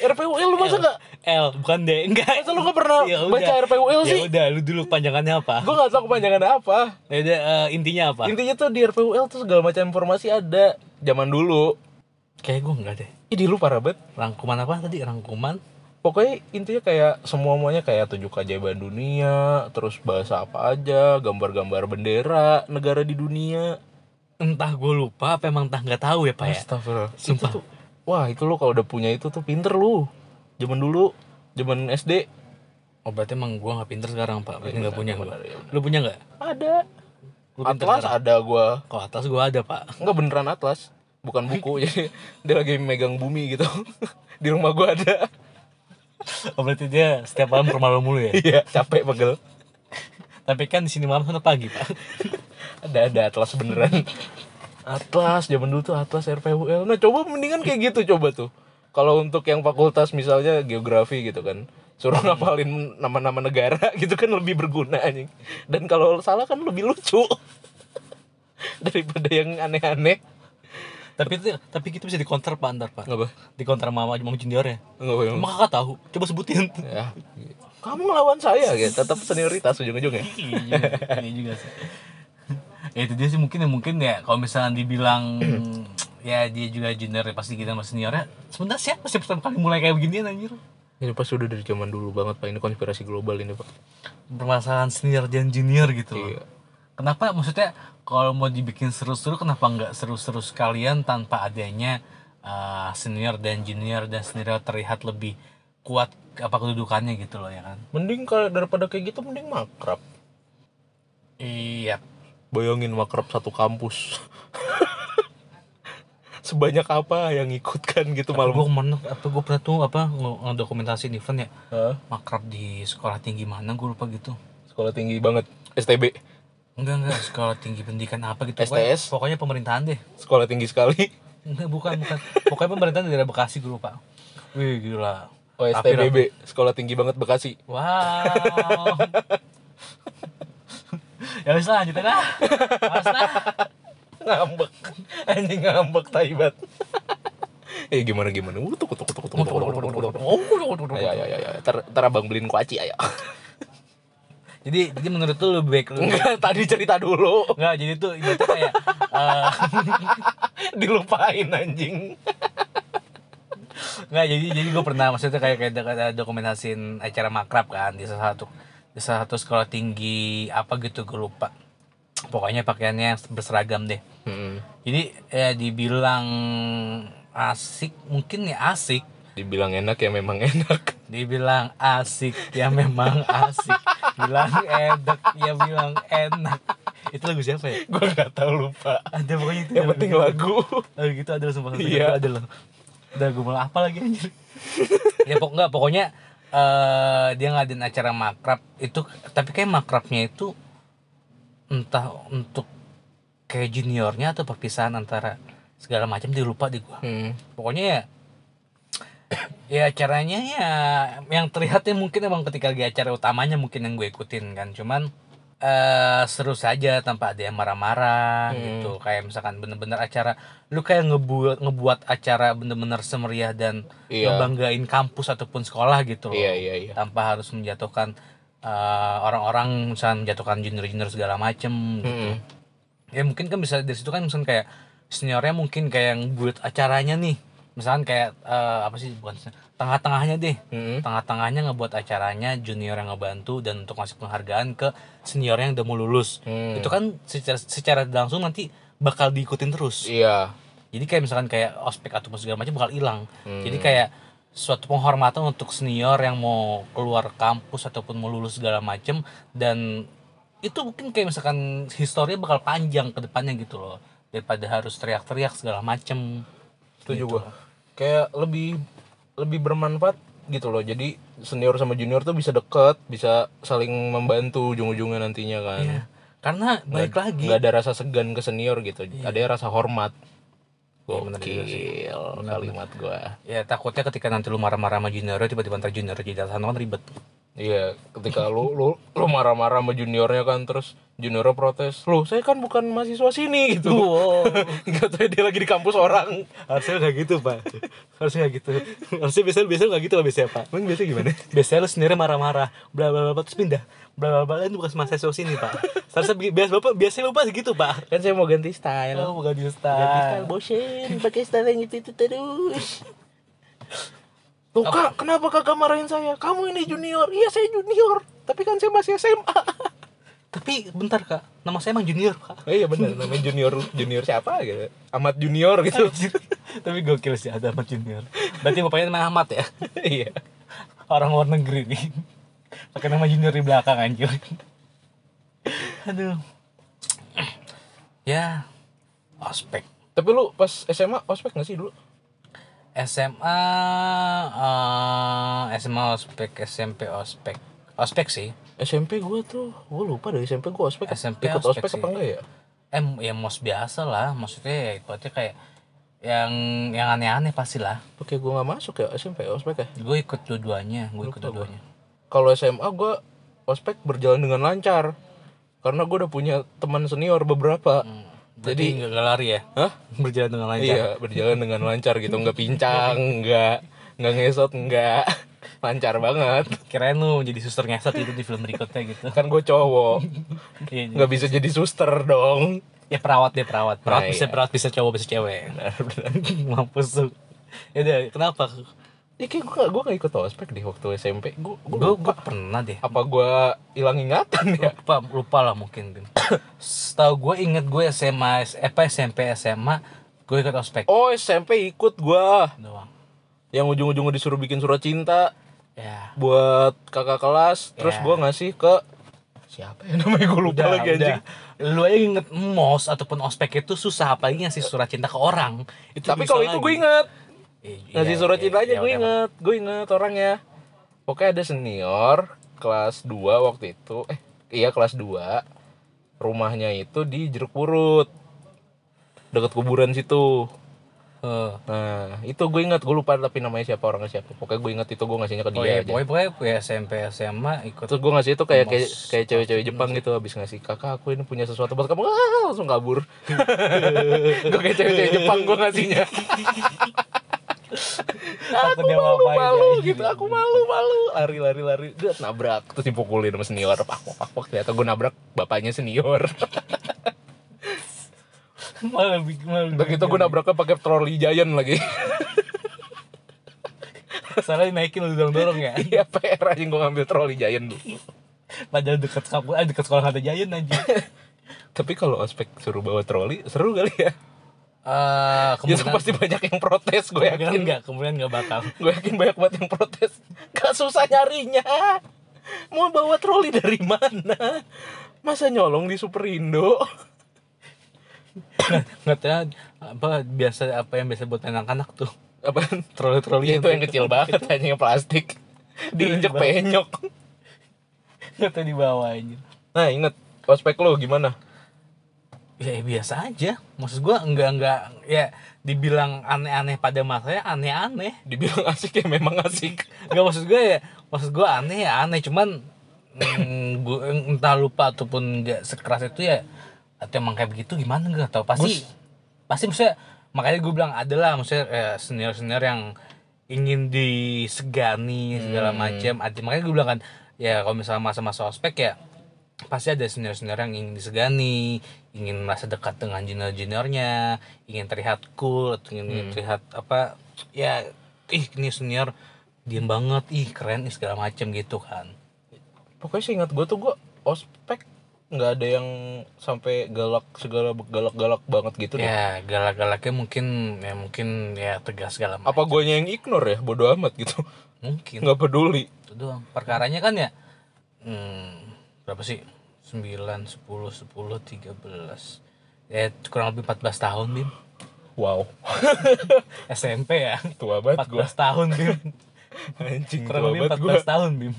A: RPUL lu masa nggak
B: L bukan D enggak
A: masa lu nggak pernah baca RPUL sih
B: ya Ya. udah lu dulu panjangannya apa
A: gua nggak tahu kepanjangan apa
B: ya udah eh, intinya apa
A: intinya tuh di RPUL tuh segala macam informasi ada zaman dulu
B: kayak gue enggak deh
A: Ih, lu parah banget.
B: rangkuman apa tadi rangkuman
A: Pokoknya intinya kayak semua-muanya kayak tujuh keajaiban dunia, terus bahasa apa aja, gambar-gambar bendera negara di dunia.
B: entah gue lupa apa emang entah nggak tahu ya pak ya
A: Astagfirullah. Itu
B: Sumpah.
A: tuh, wah, itu lu kalau udah punya itu tuh pinter lu. Zaman dulu, zaman SD
B: oh berarti emang gue nggak pinter sekarang pak berarti nggak punya
A: benar,
B: gua
A: ya
B: lu punya nggak
A: ada.
B: lu pinter
A: Atlas ada gua.
B: ke atas gue ada pak
A: Enggak beneran atlas, bukan buku. jadi dia lagi megang bumi gitu. di rumah gua ada.
B: oh, berarti dia setiap malam ke rumah lu mulu ya
A: Iya, capek pegel.
B: tapi kan di sini malam sana pagi pak
A: ada ada atlas beneran atlas zaman dulu tuh atlas RPUL nah coba mendingan kayak gitu coba tuh kalau untuk yang fakultas misalnya geografi gitu kan suruh ngapalin nama-nama negara gitu kan lebih berguna anjing dan kalau salah kan lebih lucu daripada yang aneh-aneh
B: tapi itu tapi kita bisa dikonter pak antar pak
A: apa
B: dikonter mama mama junior ya
A: nggak apa
B: emang kakak tahu coba sebutin
A: ya kamu ngelawan saya gitu tetap senioritas ya? ujung-ujungnya
B: iya juga, iya juga sih. ya itu dia sih mungkin ya mungkin ya kalau misalnya dibilang ya dia juga junior ya pasti kita sama seniornya sebenarnya siapa sih pertama kali mulai kayak beginian anjir
A: ini pas udah dari zaman dulu banget pak ini konspirasi global ini pak
B: permasalahan senior dan junior gitu loh
A: Iya.
B: kenapa maksudnya kalau mau dibikin seru-seru kenapa nggak seru-seru sekalian tanpa adanya eh, senior dan junior dan senior terlihat lebih kuat apa kedudukannya gitu loh ya kan
A: mending kalau daripada kayak gitu mending makrab
B: iya
A: Bayangin makrab satu kampus. Sebanyak apa yang ikut kan gitu malam.
B: malu gue kemana apa gue pernah tuh apa ngedokumentasiin event ya
A: Hah?
B: makrab di sekolah tinggi mana gue lupa gitu
A: Sekolah tinggi banget. STB.
B: enggak enggak sekolah tinggi pendidikan apa gitu
A: STS?
B: pokoknya, pokoknya pemerintahan deh
A: Sekolah tinggi sekali.
B: enggak bukan bukan pokoknya pemerintahan daerah Bekasi gue lupa wih gila
A: Oh,
B: Tapi rapi.
A: STBB. Sekolah tinggi banget Bekasi.
B: wow ya wis lah lanjutin lah Males lah
A: Ngambek. Anjing ngambek taibat. eh gimana gimana? Uh, tuk tuk tuk tuk tuk tuk tuk tuk tuk. Ayo ayo ayo. ayo. Ntar, ntar abang beliin kuaci ayo.
B: jadi jadi menurut lu lebih baik lu
A: Enggak, tadi cerita dulu.
B: enggak jadi tuh itu tuh kayak eh,
A: Dilupain anjing.
B: Nggak, jadi jadi gue pernah maksudnya kayak kayak dok- dokumentasin acara makrab kan di salah satu di salah satu sekolah tinggi apa gitu gue lupa. Pokoknya pakaiannya berseragam deh.
A: Hmm.
B: Jadi eh, dibilang asik mungkin ya asik
A: Dibilang enak ya memang enak.
B: Dibilang asik, ya memang asik. Bilang enak, ya bilang enak. Itu lagu siapa ya?
A: Gue nggak tahu lupa.
B: Ada pokoknya itu.
A: Yang penting lagu.
B: Lagu gitu ada loh sumpah. Lagu
A: Iya.
B: itu Ada loh. Udah gue malah apa lagi anjir. ya pokok enggak, pokoknya eh dia ngadain acara makrab itu tapi kayak makrabnya itu entah untuk kayak juniornya atau perpisahan antara segala macam dia lupa di gua
A: Hmm.
B: pokoknya ya ya caranya ya yang terlihatnya mungkin emang ketika lagi acara utamanya mungkin yang gue ikutin kan cuman eh seru saja tanpa ada yang marah-marah
A: Hmm.
B: gitu kayak misalkan bener-bener acara lu kayak ngebuat ngebuat acara bener-bener semeriah dan
A: Iya.
B: ngebanggain kampus ataupun sekolah gitu loh
A: Iya iya iya.
B: tanpa harus menjatuhkan eh, orang-orang misalnya menjatuhkan junior-junior segala macem
A: Hmm.
B: gitu ya mungkin kan bisa dari situ kan misalkan kayak seniornya mungkin kayak yang buat acaranya nih misalkan kayak eh, apa sih bukan senior, tengah-tengahnya deh
A: Hmm.
B: tengah-tengahnya ngebuat acaranya junior yang ngebantu dan untuk ngasih penghargaan ke senior yang udah mau lulus
A: Hmm.
B: itu kan secara secara langsung nanti bakal diikutin terus
A: Iya.
B: jadi kayak misalkan kayak ospek atau segala macam bakal hilang jadi kayak suatu penghormatan untuk senior yang mau keluar kampus ataupun mau lulus segala macem dan itu mungkin kayak misalkan historinya bakal panjang ke depannya gitu loh daripada harus teriak-teriak segala Gitu. macem
A: Setuju gue. Kayak lebih lebih bermanfaat gitu loh. Jadi senior sama junior tuh bisa deket, bisa saling membantu ujung-ujungnya nantinya kan.
B: Ya, karena balik lagi
A: nggak ada rasa segan ke senior gitu ada rasa hormat
B: Iya, bener juga
A: gokil kalimat gua
B: ya takutnya ketika nanti lu marah-marah sama junior tiba-tiba ntar junior jadi atasan kan ribet
A: iya ketika lu lu lu marah-marah sama juniornya kan terus juniornya protes lu saya kan bukan mahasiswa sini gitu
B: wow.
A: nggak tahu dia lagi di kampus orang
B: harusnya nggak gitu pak harusnya nggak gitu harusnya biasanya biasanya nggak gitu lah biasanya pak
A: emang biasa gimana
B: biasanya lu sendiri marah-marah bla bla bla terus pindah bla bla bla itu bukan mahasiswa sini pak seharusnya bi- biasa bapak biasanya bapak segitu pak
A: kan saya mau ganti style
B: oh bukan di
A: ganti style
B: style
A: bosen pakai style yang itu itu terus Loh kak, kenapa kakak marahin saya? Kamu ini junior. Iya saya junior. Tapi kan saya masih SMA.
B: tapi bentar kak nama saya emang junior pak
A: Oh iya benar namanya junior junior siapa gitu. Ahmad junior gitu.
B: Anjir. tapi gokil sih ada Ahmad junior berarti bapaknya nama Ahmad ya
A: iya.
B: orang luar negeri nih pakai nama junior di belakang anjir aduh ya ospek
A: Tapi lu pas SMA ospek gak sih dulu?
B: SMA eh, SMA ospek SMP ospek ospek sih
A: SMP gue tuh, gue lupa dari SMP gue ospek.
B: SMP
A: ikut
B: ospek
A: ospek,
B: sih.
A: apa enggak ya?
B: eh ya mos biasa lah maksudnya ya ikutnya kayak yang yang aneh-aneh pasti lah
A: Oke, gue nggak masuk ya SMP ospek ya.
B: gue ikut dua-duanya gue ikut
A: Lupa gua.
B: dua-duanya
A: Kalau SMA gue ospek berjalan dengan lancar karena gue udah punya teman senior beberapa.
B: jadi nggak nggak lari ya
A: Hah?
B: berjalan dengan lancar
A: Iya, berjalan dengan lancar gitu, nggak pincang, nggak nggak ngesot, nggak lancar banget.
B: kirain lu jadi suster ngesot itu di film berikutnya gitu
A: Kan gue cowok,
B: Iya, iya.
A: nggak bisa jadi suster dong.
B: ya perawat deh perawat
A: Nah,
B: perawat bisa
A: iya.
B: perawat bisa cowok bisa cewek mampus tuh ya udah kenapa
A: Iya, kayak gue gue nggak ikut ospek deh waktu SMP. Gue
B: gue
A: gue
B: pernah deh
A: apa gue hilang ingatan ya?
B: lupa lupa lah mungkin Bim. setahu gue inget gue SMA S- eh, apa SMP SMA gue ikut ospek
A: Oh SMP ikut gua
B: doang
A: Yang ujung-ujungnya disuruh bikin surat cinta
B: ya
A: Buat kakak kelas Terus
B: Ya.
A: gua ngasih ke Siapa ya namanya gue lupa lagi anjing
B: lu aja inget mos ataupun ospek itu susah apalagi ngasih surat cinta ke orang itu Iya,
A: Tapi kalau itu gue inget Ngasih surat cinta aja gue
B: gua
A: inget Gue inget orangnya Pokoknya ada senior Kelas 2 waktu itu Eh iya kelas 2 Rumahnya itu di Jeruk Purut Deket kuburan situ
B: Oh,
A: Nah itu gue inget Gue lupa tapi namanya siapa orangnya siapa Pokoknya gue inget itu gue ngasihnya ke dia
B: Oh iya,
A: aja
B: pokoknya, pokoknya gue SMP SMA ikut
A: terus gue ngasih itu kayak kayak
B: Mos-
A: kayak cewek-cewek Jepang gitu habis ngasih kakak aku ini punya sesuatu buat kamu ah, langsung kabur gue kayak cewek-cewek Jepang gue ngasihnya
B: aku
A: aku malu malu gitu aku malu malu lari lari lari dia nabrak terus dipukulin sama senior pak pak pak pak ternyata gue nabrak bapaknya senior
B: malah bikin malah
A: udah gitu gue nabraknya pakai troli giant lagi
B: salah naikin lu dorong dorong ya
A: iya PR aja gue ngambil troli giant dulu
B: padahal dekat kampus eh, dekat sekolah ada jayan aja
A: tapi kalau ospek suruh bawa troli seru kali ya
B: eh
A: Itu
B: kemungkinan
A: pasti banyak yang protes gue
B: kemungkinan
A: yakin.
B: enggak kemungkinan enggak bakal
A: Gue yakin banyak banget yang protes. Gak susah nyarinya. Mau bawa troli dari mana? Masa nyolong di Superindo?
B: Nah, nggak tahu apa biasa apa yang biasa buat anak-anak tuh
A: Apaan?
B: troli-troli
A: Itu yang kecil banget, hanya yang plastik. Diinjek penyok.
B: nggak tahu di bawah aja
A: Nah, inget ospek lo gimana?
B: ya biasa aja maksud gua enggak enggak ya dibilang aneh-aneh pada masanya aneh-aneh
A: Dibilang asik ya memang asik.
B: Gak maksud gue ya, maksud gue aneh ya aneh cuman mm, gue entah lupa ataupun gak sekeras itu ya atau emang kayak begitu gimana gak tau pasti pasti maksudnya makanya gue bilang adalah maksudnya senior senior yang ingin disegani segala macam ada makanya gue bilang kan ya kalau misalnya masa-masa ospek ya pasti ada senior senior yang ingin disegani ingin merasa dekat dengan junior juniornya ingin terlihat cool atau ingin terlihat apa ya ih ini senior diem banget ih keren ih segala macam gitu kan
A: Pokoknya sih ingat gue tuh gue ospek nggak ada yang sampai galak segala galak galak banget gitu deh.
B: ya galak-galaknya mungkin ya mungkin ya tegas segala macam
A: Apa guanya yang ignore ya? Bodoh amat gitu.
B: mungkin
A: Nggak peduli.
B: itu doang perkaranya kan ya hmm, berapa sih 9, 10, 10, 13 ya kurang lebih 14 tahun Bim
A: Wow,
B: SMP ya
A: tua banget
B: 14
A: gue.
B: tahun Bim
A: Anjing
B: kurang
A: tua
B: lebih
A: banget
B: 14
A: gue.
B: tahun Bim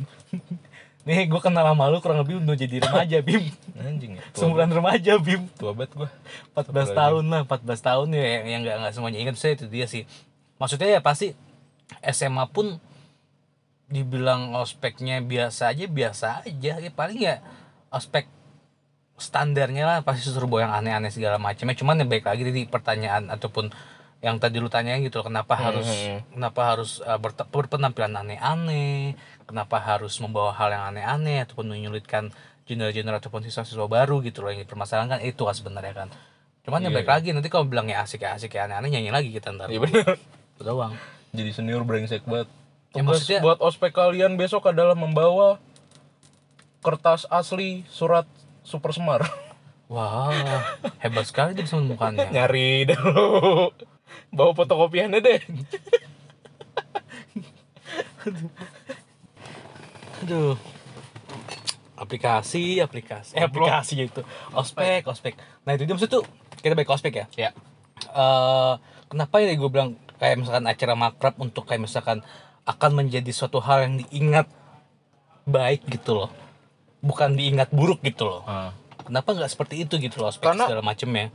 B: nih gue kenal sama lu kurang lebih udah jadi remaja Bim
A: Anjing ya. Tua,
B: seumuran remaja Bim
A: tua banget gue.
B: 14 tahun lah, 14 tahun ya yang- yang nggak nggak semuanya ingat saya itu dia sih. Maksudnya ya pasti SMA pun dibilang ospeknya biasa aja biasa aja ya paling ya ospek standarnya lah pasti serbo yang aneh-aneh segala macamnya cuman yang baik lagi tadi pertanyaan ataupun yang tadi lu tanyain gitu loh, kenapa harus
A: Hmm,
B: kenapa harus eh, berte- berpenampilan aneh-aneh kenapa harus membawa hal yang aneh-aneh ataupun menyulitkan junior-junior ataupun siswa-siswa baru gitu loh yang dipermasalahkan itu kan sebenarnya kan cuman yang baik lagi nanti kalau bilang ya asik ya asik ya aneh-aneh nyanyi lagi kita ntar
A: Iya bener.
B: Itu doang
A: Jadi senior brengsek banget.
B: Ya,
A: Tugas
B: maksudnya-
A: buat ospek kalian besok adalah membawa kertas asli surat super semar.
B: wah hebat sekali dia bisa menemukannya
A: Nyari dulu. Bawa fotokopiannya deh.
B: Aduh. Aplikasi, aplikasi, eh,
A: Oblong.
B: aplikasi itu. Ospek, ospek. Nah, itu dia maksud tuh kita balik ke ospek ya. Ya. kenapa ya gue bilang kayak misalkan acara makrab untuk kayak misalkan akan menjadi suatu hal yang diingat baik gitu loh. Bukan diingat buruk gitu loh. Kenapa nggak seperti itu gitu loh ospek
A: Karena-
B: segala macem ya.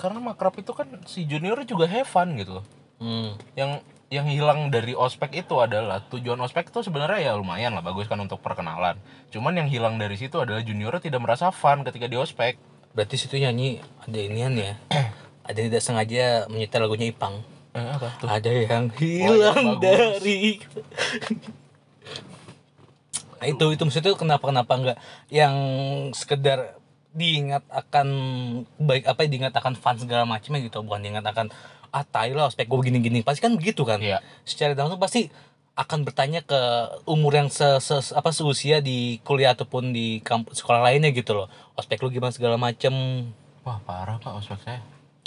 A: Karena makrab itu kan si junior juga have fun gitu loh.
B: Hmm.
A: Yang yang hilang dari ospek itu adalah tujuan ospek itu sebenarnya ya lumayan lah bagus kan untuk perkenalan. Cuman yang hilang dari situ adalah juniornya tidak merasa fun ketika di ospek.
B: Berarti situ nyanyi ada inian ya. ada yang tidak sengaja menyetel lagunya Ipang.
A: Eh, apa?
B: Ada yang
A: Oh,
B: hilang
A: iya, bagus.
B: dari Nah, itu itu maksudnya kenapa kenapa enggak yang sekedar diingat akan baik apa diingat akan fun segala macamnya gitu bukan diingat akan ah tai lah ospek gue begini gini pasti kan begitu kan
A: Iya.
B: secara tidak langsung pasti akan bertanya ke umur yang se, se- apa seusia di kuliah ataupun di kamp- sekolah lainnya gitu loh ospek lu gimana segala macem
A: Wah parah pak ospek saya.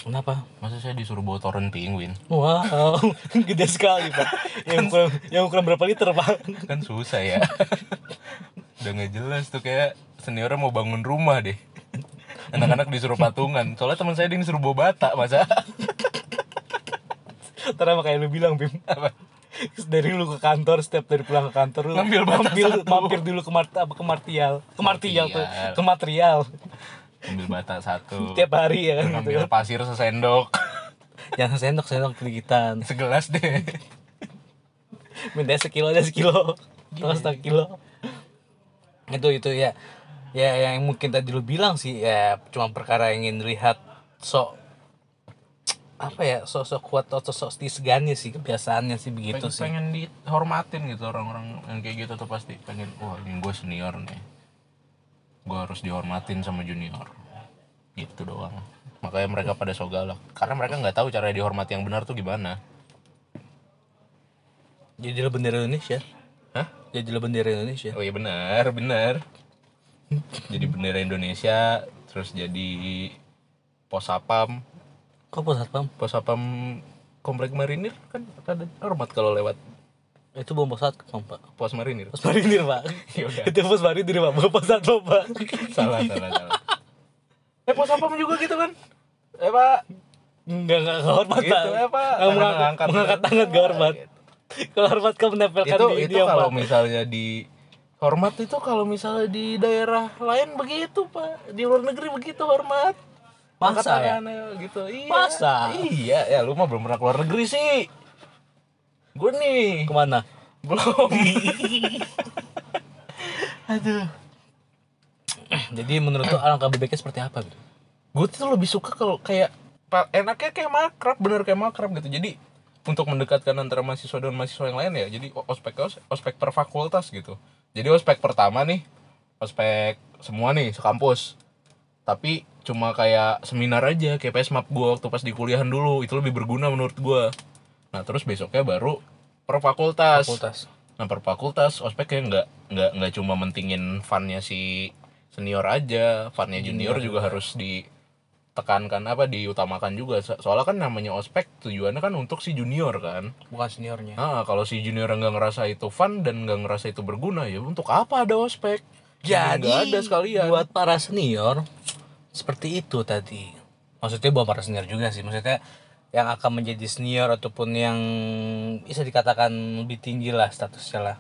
B: kenapa
A: Masa saya disuruh bawa toren penguin?
B: Wow, gede sekali pak. Yang ukuran, yang ukuran berapa liter pak?
A: Kan susah ya. Udah nggak jelas tuh kayak seniornya mau bangun rumah deh. Anak-anak disuruh patungan. Soalnya teman saya ada yang disuruh bawa bata masa.
B: Ternyata kayak lu bilang Bim.
A: Apa?
B: Dari lu ke kantor, setiap dari pulang ke kantor lu
A: Ngambil bata
B: mampir,
A: satu.
B: mampir dulu ke mart apa ke martial, ke martial tuh,
A: Martial.
B: ke material.
A: Ambil bata satu.
B: Tiap hari ya kan gitu.
A: Ambil pasir sesendok.
B: Jangan sendok sendok keligitan.
A: Segelas deh.
B: Minta sekilo ada sekilo, terus
A: ya.
B: tak kilo. Itu itu ya. Ya yang mungkin tadi lu bilang sih ya cuma perkara yang ingin dilihat sok apa ya sosok kuat atau sosok disegani sih kebiasaannya sih begitu
A: Pengen-
B: sih
A: pengen dihormatin gitu orang-orang yang kayak gitu tuh pasti pengen wah ini gue senior nih gue harus dihormatin sama junior gitu doang makanya mereka pada so galak karena mereka nggak tahu cara dihormati yang benar tuh gimana
B: jadilah bendera Indonesia
A: hah
B: jadilah bendera Indonesia
A: oh iya benar benar jadi bendera Indonesia terus jadi pos sapam
B: Kok pos satpam?
A: Pos satpam komplek marinir kan ada hormat kalau lewat
B: Itu bukan pos satpam pak.
A: pos marinir.
B: Pos marinir pak.
A: Ya udah.
B: Itu pos marinir pak. Bukan pos satpam pak.
A: salah salah salah. Eh pos satpam juga gitu kan? Eh pak,
B: Enggak enggak gak hormat
A: Gitu,
B: pak.
A: ya, Pak.
B: Nggak
A: Tangan
B: mengangkat,
A: mengangkat.
B: mengangkat tangan gak hormat. Kalau hormat kamu menempelkan
A: itu
B: di
A: itu
B: dia
A: kalau
B: pak.
A: misalnya di hormat itu kalau misalnya di daerah lain begitu pak, di luar negeri begitu hormat. Angkat
B: Masa ya?
A: tangannya gitu. Iya.
B: Masa?
A: Iya, ya lu mah belum pernah keluar negeri sih. Gue nih
B: Kemana?
A: belum.
B: Aduh. Jadi menurut lo alangkah baiknya seperti apa gitu?
A: gue tuh lebih suka kalau kayak pa- enaknya kayak makrab bener kayak makrab gitu jadi untuk mendekatkan antara mahasiswa dan mahasiswa yang lain ya jadi o- ospek os- ospek per fakultas gitu jadi ospek pertama nih ospek semua nih sekampus tapi cuma kayak seminar aja kayak pesmap gue waktu pas di kuliahan dulu itu lebih berguna menurut gue nah terus besoknya baru per fakultas,
B: Fakultas.
A: nah per fakultas ospek kayak nggak nggak nggak cuma mentingin funnya si senior aja funnya
B: Iya.
A: junior juga harus ditekankan apa diutamakan juga So- soalnya kan namanya ospek tujuannya kan untuk si junior kan
B: Bukan seniornya.
A: nah kalau si junior nggak ngerasa itu fun dan nggak ngerasa itu berguna ya untuk apa ada ospek
B: Jadi
A: nggak ada sekalian
B: buat para senior seperti itu tadi. Maksudnya buat para senior juga sih. Maksudnya yang akan menjadi senior ataupun yang bisa dikatakan lebih tinggi lah statusnya lah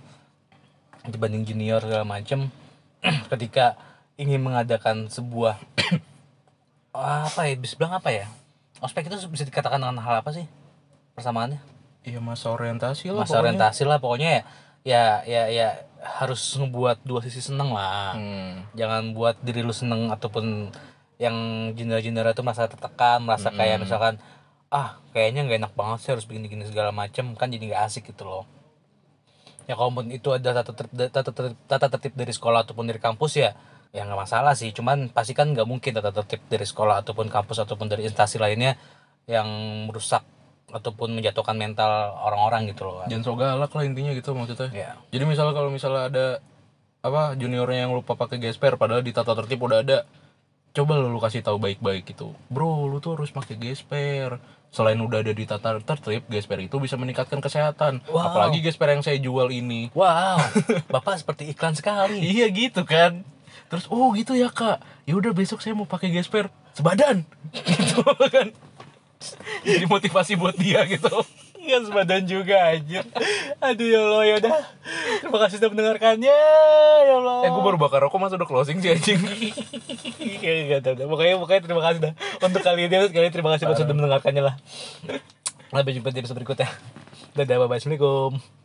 B: dibanding junior segala macem ketika ingin mengadakan sebuah apa ya bisa bilang apa ya ospek itu bisa dikatakan dengan hal apa sih persamaannya
A: iya masa orientasi lah
B: masa
A: pokoknya.
B: orientasi lah pokoknya ya ya ya ya harus ngebuat dua sisi seneng lah
A: Hmm.
B: jangan buat diri lu seneng ataupun yang jendela-jendela itu merasa tertekan merasa kayak misalkan ah kayaknya nggak enak banget sih harus begini-gini segala macem kan jadi nggak asik gitu loh ya kalaupun itu ada tata tertib, tata, tertib, tata tertib dari sekolah ataupun dari kampus ya ya nggak masalah sih cuman pasti kan nggak mungkin tata tertib dari sekolah ataupun kampus ataupun dari instansi lainnya yang merusak ataupun menjatuhkan mental orang-orang gitu loh kan.
A: jangan so galak lah intinya gitu maksudnya
B: ya
A: Jadi misalnya kalau misalnya ada apa juniornya yang lupa pakai gesper padahal di tata tertib udah ada. Coba lu, lu kasih tahu baik-baik gitu. Bro, lu tuh harus pakai gesper. Selain udah ada di tata tertib, gesper itu bisa meningkatkan kesehatan.
B: Wow.
A: Apalagi gesper yang saya jual ini.
B: wow bapak seperti iklan sekali
A: Iya gitu kan. Terus oh gitu ya, Kak. Ya udah besok saya mau pakai gesper sebadan. gitu kan. Jadi motivasi buat dia gitu.
B: Iya sebadan juga anjir Aduh ya Allah ya udah Terima kasih Iya, sudah mendengarkannya Ya Allah
A: Eh, gue baru bakar rokok mas udah closing sih anjing.
B: Iya, iya, iya, iya. Pokoknya, pokoknya terima kasih dah Untuk kali ini sekali terima kasih buat sudah mendengarkannya lah Sampai jumpa di episode berikutnya Dadah bye-bye Assalamualaikum